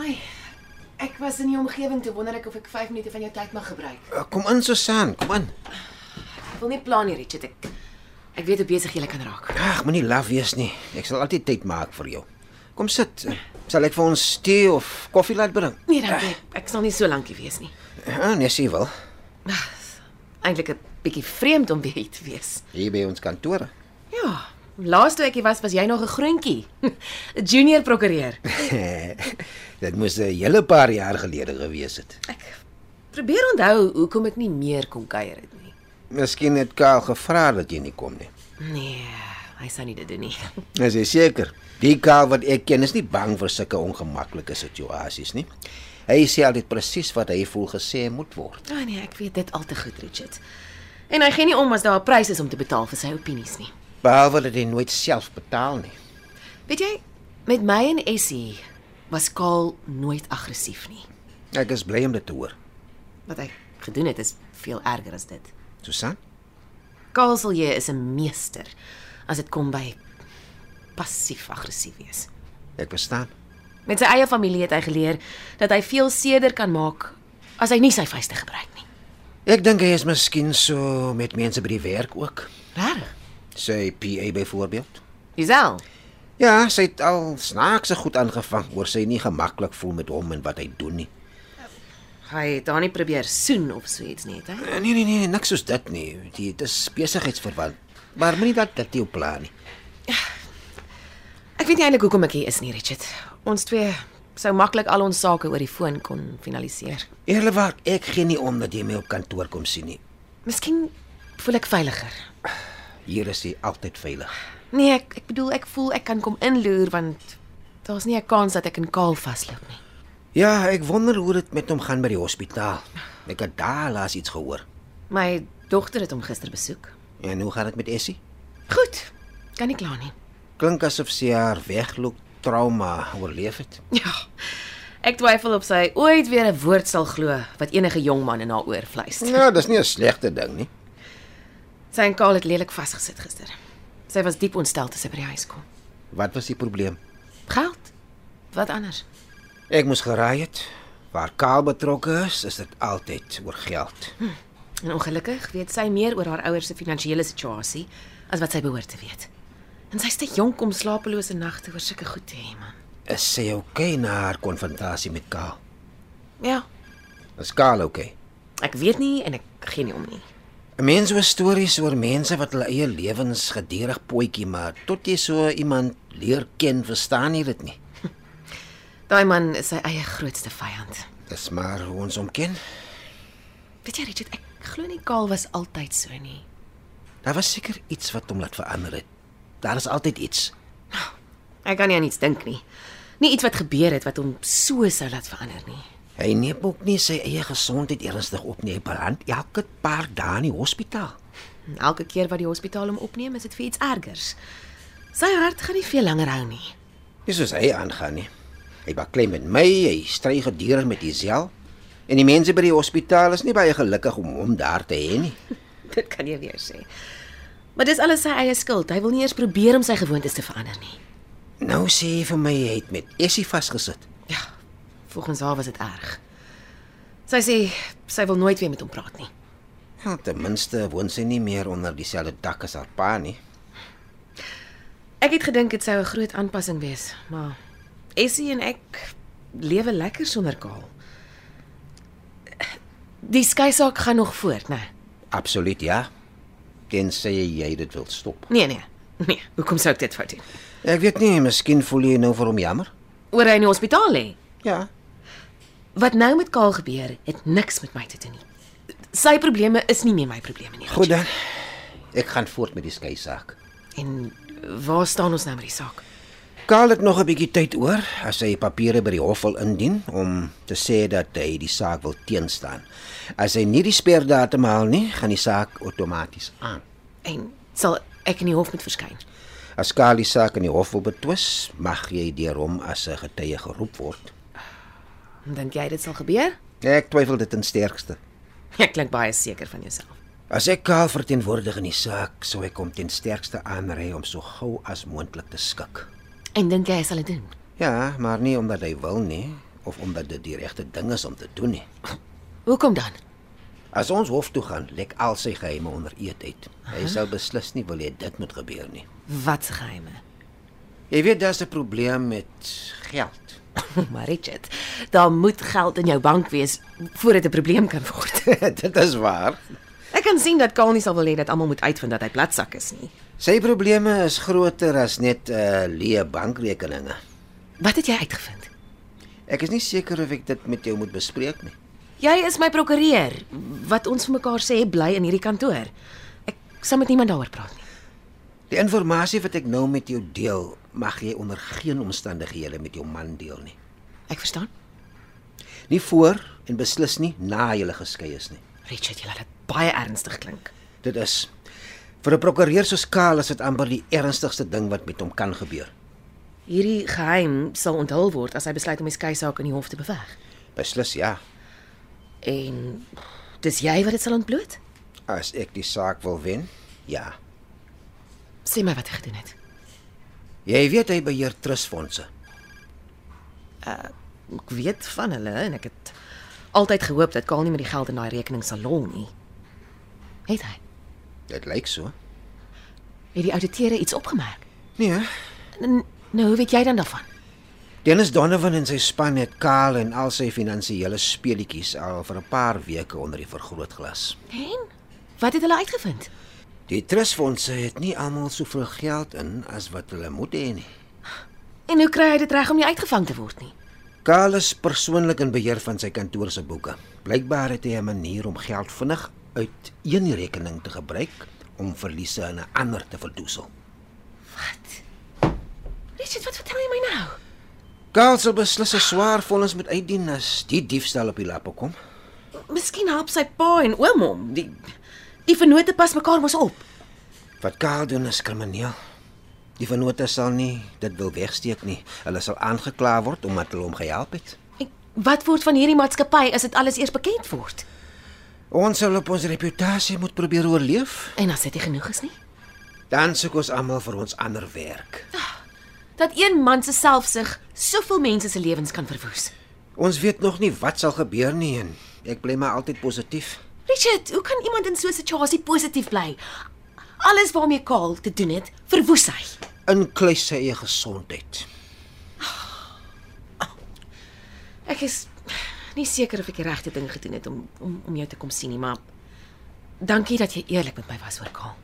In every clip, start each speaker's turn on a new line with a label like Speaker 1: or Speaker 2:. Speaker 1: Ai. Ek was in die omgewing toe wonder ek of ek 5 minute van jou tyd mag gebruik.
Speaker 2: Uh, Kom in Susan, kom in.
Speaker 1: Ek wil nie plan hier Richard ek. Ek weet hoe besig jy kan raak.
Speaker 2: Ag, moenie laf wees nie. Ek sal altyd tyd maak vir jou. Kom sit. Sal ek vir ons tee of koffie laat bring?
Speaker 1: Nee, dankie. Ek sal nie so lank hier wees nie.
Speaker 2: Ja, nee, sê wel.
Speaker 1: Eintlik 'n bietjie vreemd om weer hier te wees.
Speaker 2: Hier by ons kantoor.
Speaker 1: Ja. Laas toe ek hier was, was jy nog 'n groentjie. 'n Junior prokureur.
Speaker 2: Dit moes 'n hele paar jaar gelede gewees het.
Speaker 1: Ek probeer onthou hoekom ek nie meer kon kuier het nie.
Speaker 2: Miskien het Karl gevra dat jy nie kom nie.
Speaker 1: Nee, hy sou nie dit doen nie.
Speaker 2: Is jy seker? Die Karl wat ek ken is nie bang vir sulke ongemaklike situasies nie. Hy sê altyd presies wat hy voel gesê moet word.
Speaker 1: Ja oh nee, ek weet dit al te goed, Richard. En hy gee nie om as daar 'n prys is om te betaal vir sy opinies nie.
Speaker 2: Behalwe dat hy nooit self betaal nie.
Speaker 1: Weet jy, met my en Essie was Kaal nooit aggressief nie.
Speaker 2: Ek is bly om dit te hoor.
Speaker 1: Wat hy gedoen het is veel erger as dit.
Speaker 2: Susan?
Speaker 1: Kaal Silje is 'n meester as dit kom by passief aggressief wees.
Speaker 2: Ek verstaan.
Speaker 1: Met sy eie familie het hy geleer dat hy veel seerder kan maak as hy nie sy vuiste gebruik nie.
Speaker 2: Ek dink hy is miskien so met mense by die werk ook.
Speaker 1: Regtig?
Speaker 2: Sy PA byvoorbeeld.
Speaker 1: Giselle.
Speaker 2: Ja, sy het al snaakse goed aangevang oor sy nie gemaklik voel met hom en wat hy doen nie.
Speaker 1: Hy het haar nie probeer soen of so iets nie, het hy?
Speaker 2: Eh, Nee nee nee, niks soos dit nie. Die- Dit is besigheidsverwant. Maar moenie dat dit jou pla nie.
Speaker 1: Ek weet nie eintlik hoekom ek hier is nie, Richard. Ons twee sou maklik al ons sake oor die foon kon finaliseer.
Speaker 2: Eerlikwaar, ek gee nie om dat jy my op kantoor kom sien nie.
Speaker 1: Miskien voel ek veiliger.
Speaker 2: Hier is jy altyd veilig.
Speaker 1: Nee, ek ek bedoel ek voel ek kan kom inloer want daar's nie 'n kans dat ek in kaal vasloop nie.
Speaker 2: Ja, ek wonder hoe dit met hom gaan by die hospitaal. Ek het daar laas iets gehoor.
Speaker 1: My dogter het hom gister besoek.
Speaker 2: En hoe gaan dit met Essie?
Speaker 1: Goed. Kan nie kla nie.
Speaker 2: Klink asof sy haar wegloop trauma oorleef het.
Speaker 1: Ja. Ek twyfel of sy ooit weer 'n woord sal glo wat enige jong man in haar oor fluister.
Speaker 2: Ja, dis nie 'n slegte ding nie.
Speaker 1: Sy en Kaal het lelik vasgesit gister. Sy was diep ontstel toe sy by die huis kom.
Speaker 2: Wat was die probleem?
Speaker 1: Geld? Wat anders?
Speaker 2: Ek moes geraai het. Waar Kaal betrokke is, is dit altyd oor geld.
Speaker 1: En ongelukkig weet sy meer oor haar ouers se finansiële situasie as wat sy behoort te weet. En sy's te jonk om slapelose nagte oor sulke goed te hê, man.
Speaker 2: Is sy okay na haar konfrontasie met Kaal?
Speaker 1: Ja,
Speaker 2: Is Kaal okay?
Speaker 1: Ek weet nie en ek gee nie om nie.
Speaker 2: 'n Mens hoor stories oor mense wat hulle eie lewens gedurig potjie maar tot jy so iemand leer ken, verstaan jy dit nie.
Speaker 1: Daai man is sy eie grootste vyand.
Speaker 2: Dis maar hoe ons hom ken.
Speaker 1: Weet jy Richard, ek glo nie Kaal was altyd so nie.
Speaker 2: Daar was seker iets wat hom laat verander het. Daar is altyd iets.
Speaker 1: Ek kan nie aan iets dink nie. Nie iets wat gebeur het wat hom so sou laat verander nie.
Speaker 2: Hy neem ook nie sy eie gesondheid ernstig op nie. Hy beland elke paar dae in die hospitaal.
Speaker 1: En elke keer wat die hospitaal hom opneem, is dit vir iets ergers. Sy hart gaan nie veel langer hou nie.
Speaker 2: Dis soos hy aangaan nie. Hy baklei met my, hy stry gedurig met Isel. En die mense by die hospitaal is nie baie gelukkig om hom daar te hê nie.
Speaker 1: Dit kan jy weer sê. Maar dis alles sy eie skuld. Hy wil nie eers probeer om sy gewoontes te verander nie.
Speaker 2: Nou sê hy vir my hy het met Essie vasgesit.
Speaker 1: Ja, volgens haar was dit erg. Sy sê sy wil nooit weer met hom praat nie.
Speaker 2: Ja, ten minste woon sy nie meer onder dieselfde dak as haar pa nie.
Speaker 1: Ek het gedink dit sou 'n groot aanpassing wees, maar Essie en ek lewe lekker sonder Kaal. Die skeisaak gaan nog voort, né?
Speaker 2: Absoluut ja. Tensy jy dit wil stop.
Speaker 1: Nee, nee. Nee, hoekom sou ek dit fout doen?
Speaker 2: Ek weet nie, miskien voel jy nou vir hom jammer.
Speaker 1: Oor hy in die hospitaal lê.
Speaker 2: Ja.
Speaker 1: Wat nou met Kaal gebeur, het niks met my te doen nie. Sy probleme is nie meer my probleme nie.
Speaker 2: Goed dan. Ek gaan voort met die skei saak.
Speaker 1: En waar staan ons nou met die saak?
Speaker 2: Karl het nog 'n bietjie tyd oor as hy papiere by die hof wil indien om te sê dat hy die saak wil teenstaan. As hy nie die sperdatum haal nie, gaan die saak outomaties aan.
Speaker 1: En sal ek in die hof moet verskyn.
Speaker 2: As Karl die saak in die hof wil betwis, mag jy deur hom as 'n getuie geroep word.
Speaker 1: Dink jy dit sal gebeur?
Speaker 2: Ek twyfel dit ten sterkste.
Speaker 1: Ek klink baie seker van jouself.
Speaker 2: As ek Karl verteenwoordig in die saak, sou ek hom ten sterkste aanrei om so gou as moontlik te skik.
Speaker 1: En dink jy hy sal dit doen?
Speaker 2: Ja, maar nie omdat hy wil nie of omdat dit die regte ding is om te doen nie.
Speaker 1: Hoekom dan?
Speaker 2: As ons hof toe gaan, lek al sy geheime onder eed uit. Hy sal beslis nie wil hê dit moet gebeur nie.
Speaker 1: Wat se geheime?
Speaker 2: Jy weet daar's 'n probleem met geld.
Speaker 1: maar Richard, daar moet geld in jou bank wees voordat 'n probleem kan word.
Speaker 2: dit is waar.
Speaker 1: Ek kan sien dat Kaal nie sal wil hê dat almal moet uitvind dat hy platsak is nie.
Speaker 2: Sy probleme is groter as net 'n uh, leë bankrekeninge.
Speaker 1: Wat het jy uitgevind?
Speaker 2: Ek is nie seker of ek dit met jou moet bespreek nie.
Speaker 1: Jy is my prokureur. Wat ons vir mekaar sê bly in hierdie kantoor. Ek sal met niemand daaroor praat nie.
Speaker 2: Die inligting wat ek nou met jou deel, mag jy onder geen omstandighede met jou man deel nie.
Speaker 1: Ek verstaan.
Speaker 2: Nie voor en beslis nie na julle geskei is nie.
Speaker 1: Richard, jy laat dit baie ernstig klink.
Speaker 2: Dit is vir 'n prokureur soos Karl is dit amper die ernstigste ding wat met hom kan gebeur.
Speaker 1: Hierdie geheim sal onthul word as hy besluit om die skei saak in die hof te beveg.
Speaker 2: Beslis ja.
Speaker 1: En dis jy wat dit sal ontbloot?
Speaker 2: As ek die saak wil wen? Ja.
Speaker 1: Sê my wat jy gedoen het.
Speaker 2: Jy weet hy beheer trustfondse.
Speaker 1: Ek weet van hulle en ek het altyd gehoop dat Kaal nie met die geld in daai rekening sal lol nie. Het hy?
Speaker 2: Dit lyk so.
Speaker 1: Het die ouditeure iets opgemerk?
Speaker 2: Nee.
Speaker 1: N nou, hoe weet jy dan daarvan?
Speaker 2: Dennis Donovan en sy span het Karl en al sy finansiële speletjies al vir 'n paar weke onder die vergrootglas.
Speaker 1: En wat het hulle uitgevind?
Speaker 2: Die trustfondse het nie almal soveel geld in as wat hulle moet hê nie.
Speaker 1: En hoe kry hy dit reg om nie uitgevang te word nie?
Speaker 2: Karl is persoonlik in beheer van sy kantoor se boeke. Blykbaar het hy 'n manier om geld vinnig uit een rekening te gebruik om verliese aan 'n ander te verdoesel.
Speaker 1: Wat? Richard, wat vertel jy my nou?
Speaker 2: Karl sal beslis 'n swaar vonnis moet uitdien as die diefstal op die lappe kom.
Speaker 1: Miskien help sy pa en oom hom. Die die vennote pas mekaar mos op.
Speaker 2: Wat Karl doen is krimineel. Die vennote sal nie dit wil wegsteek nie. Hulle sal aangekla word omdat hulle hom gehelp het.
Speaker 1: Ek, wat word van hierdie maatskappy as dit alles eers bekend word?
Speaker 2: Ons sal op ons reputasie moet probeer oorleef.
Speaker 1: En as dit nie genoeg is nie,
Speaker 2: Dan soek ons almal vir ons ander werk.
Speaker 1: dat een man se selfsug soveel mense se lewens kan verwoes.
Speaker 2: Ons weet nog nie wat sal gebeur nie en ek bly maar altyd positief.
Speaker 1: Richard, hoe kan iemand in so 'n situasie positief bly? Alles waarmee Kaal te doen het, verwoes hy.
Speaker 2: Inkluis sy eie gesondheid.
Speaker 1: Ek is nie seker of ek die regte ding gedoen het om om om jou te kom sien nie, maar dankie dat jy eerlik met my was oor Kaal.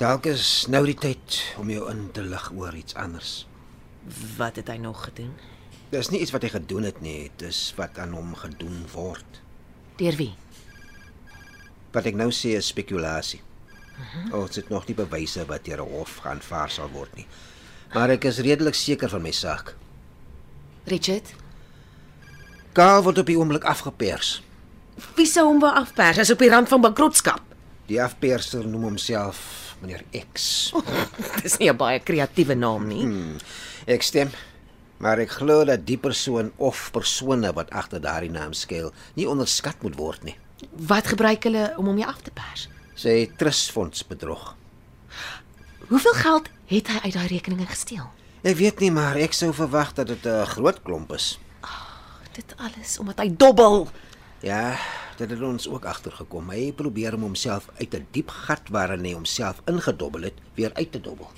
Speaker 2: Dalk is nou die tyd om jou in te lig oor iets anders.
Speaker 1: Wat het hy nog gedoen?
Speaker 2: Dis nie iets wat hy gedoen het nie, dis wat aan hom gedoen word.
Speaker 1: Deur wie?
Speaker 2: Wat ek nou sê is spekulasie. Ons het nog nie bewyse wat deur 'n hof aanvaar sal word nie. Maar ek is redelik seker van my saak.
Speaker 1: Richard,
Speaker 2: Karl word op die oomblik afgepers.
Speaker 1: wie sou hom wou afpers? Hy's op die rand van bankrotskap.
Speaker 2: Die afperser noem homself meneer X.
Speaker 1: Dis nie 'n baie kreatiewe naam nie.
Speaker 2: Ek stem, maar ek glo dat die persoon of persone wat agter daardie naam skuil, nie onderskat moet word nie.
Speaker 1: Wat gebruik hulle om hom jou af te pers?
Speaker 2: Sy trustfonds bedrog.
Speaker 1: Hoeveel geld het hy uit daai rekeninge gesteel?
Speaker 2: Ek weet nie, maar ek sou verwag dat dit 'n groot klomp is.
Speaker 1: Dit alles omdat hy dobbel.
Speaker 2: Ja, dit het ons ook agtergekom. Hy probeer om homself uit 'n diep gat waarin hy homself ingedobbel het, weer uit te dobbel.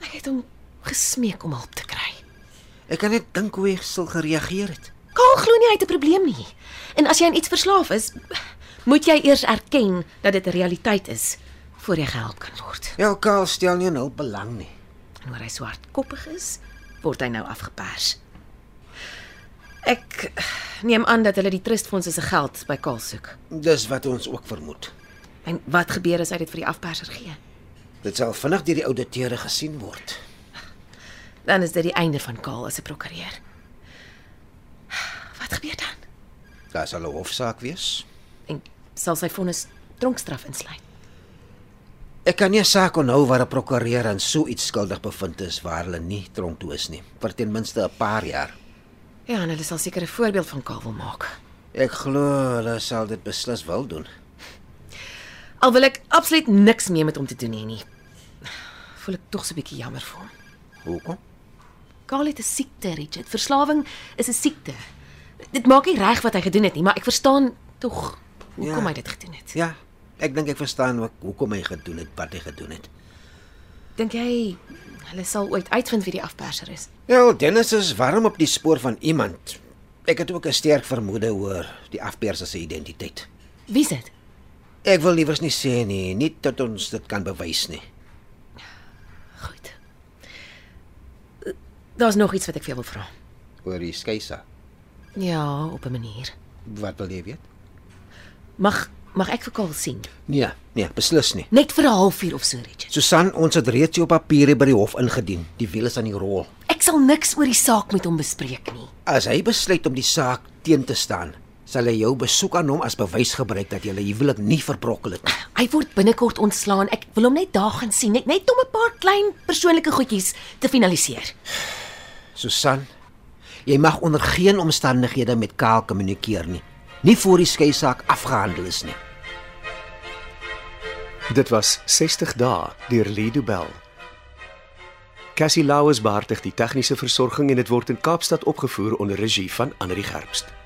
Speaker 1: Ek het hom gesmeek om hulp te kry.
Speaker 2: Ek kan net dink hoe hy sal gereageer het.
Speaker 1: Kaal glo nie hy het 'n probleem nie. En as jy aan iets verslaaf is, moet jy eers erken dat dit 'n realiteit is voor jy gehelp kan word.
Speaker 2: Ja, Karl stel nie in hulp belang nie.
Speaker 1: En oor hy so hardkoppig is, word hy nou afgepers. Ek neem aan dat hulle die trustfondse se geld by Kaal soek.
Speaker 2: Dis wat ons ook vermoed.
Speaker 1: En wat gebeur as hy dit vir die afperser gee?
Speaker 2: Dit sal vinnig deur die ouditeure gesien word.
Speaker 1: Dan is dit die einde van Kaal as 'n prokureur. Wat gebeur dan?
Speaker 2: Daar sal 'n hofsaak wees.
Speaker 1: En sal sy vonnis tronkstraf insluit?
Speaker 2: Ek kan nie 'n saak onthou waar 'n prokureur aan so iets skuldig bevind is waar hulle nie tronk toe is nie, vir ten minste 'n paar jaar.
Speaker 1: Ja, en hulle sal seker 'n voorbeeld van Kaal wil maak.
Speaker 2: Ek glo hulle sal dit beslis wil doen.
Speaker 1: Al wil ek absoluut niks meer met hom te doen hê nie. Voel ek tog so 'n bietjie jammer vir hom.
Speaker 2: Hoekom?
Speaker 1: Kaal het 'n siekte, Richard. Verslawing is 'n siekte. Dit maak nie reg wat hy gedoen het nie, maar ek verstaan tog hoekom
Speaker 2: Ja.
Speaker 1: hy dit gedoen het.
Speaker 2: Ja, ek dink ek verstaan ook hoekom hy gedoen het wat hy gedoen het.
Speaker 1: Dink jy hulle sal ooit uitvind wie die afperser is?
Speaker 2: Ja, Wel, Dennis is warm op die spoor van iemand. Ek het ook 'n sterk vermoede oor die afperser se identiteit.
Speaker 1: Wie's dit?
Speaker 2: Ek wil liewers nie sê nie, nie tot ons dit kan bewys nie.
Speaker 1: Goed. Daar's nog iets wat ek vir jou wil vra.
Speaker 2: Oor die skeisa.
Speaker 1: Ja, op 'n manier.
Speaker 2: Wat wil jy weet?
Speaker 1: Mag mag ek vir Kaal sien?
Speaker 2: Nee, nee, beslis nie.
Speaker 1: Net vir 'n halfuur of so, Richard.
Speaker 2: Susan, ons het reeds jou papiere by die hof ingedien. Die wiel is aan die rol.
Speaker 1: Ek sal niks oor die saak met hom bespreek nie.
Speaker 2: As hy besluit om die saak teen te staan, sal hy jou besoek aan hom as bewys gebruik dat julle huwelik nie verbrokkel het nie.
Speaker 1: Hy word binnekort ontslaan. Ek wil hom net daar gaan sien, net net om 'n paar klein persoonlike goedjies te finaliseer.
Speaker 2: Susan, jy mag onder geen omstandighede met Kaal kommunikeer nie. Nie voor die skei saak afgehandel is nie.
Speaker 3: Dit was 60 dae deur Lido Bell. Cassie Lauers beheer die tegniese versorging en dit word in Kaapstad opgevoer onder regie van Anri Gerbst.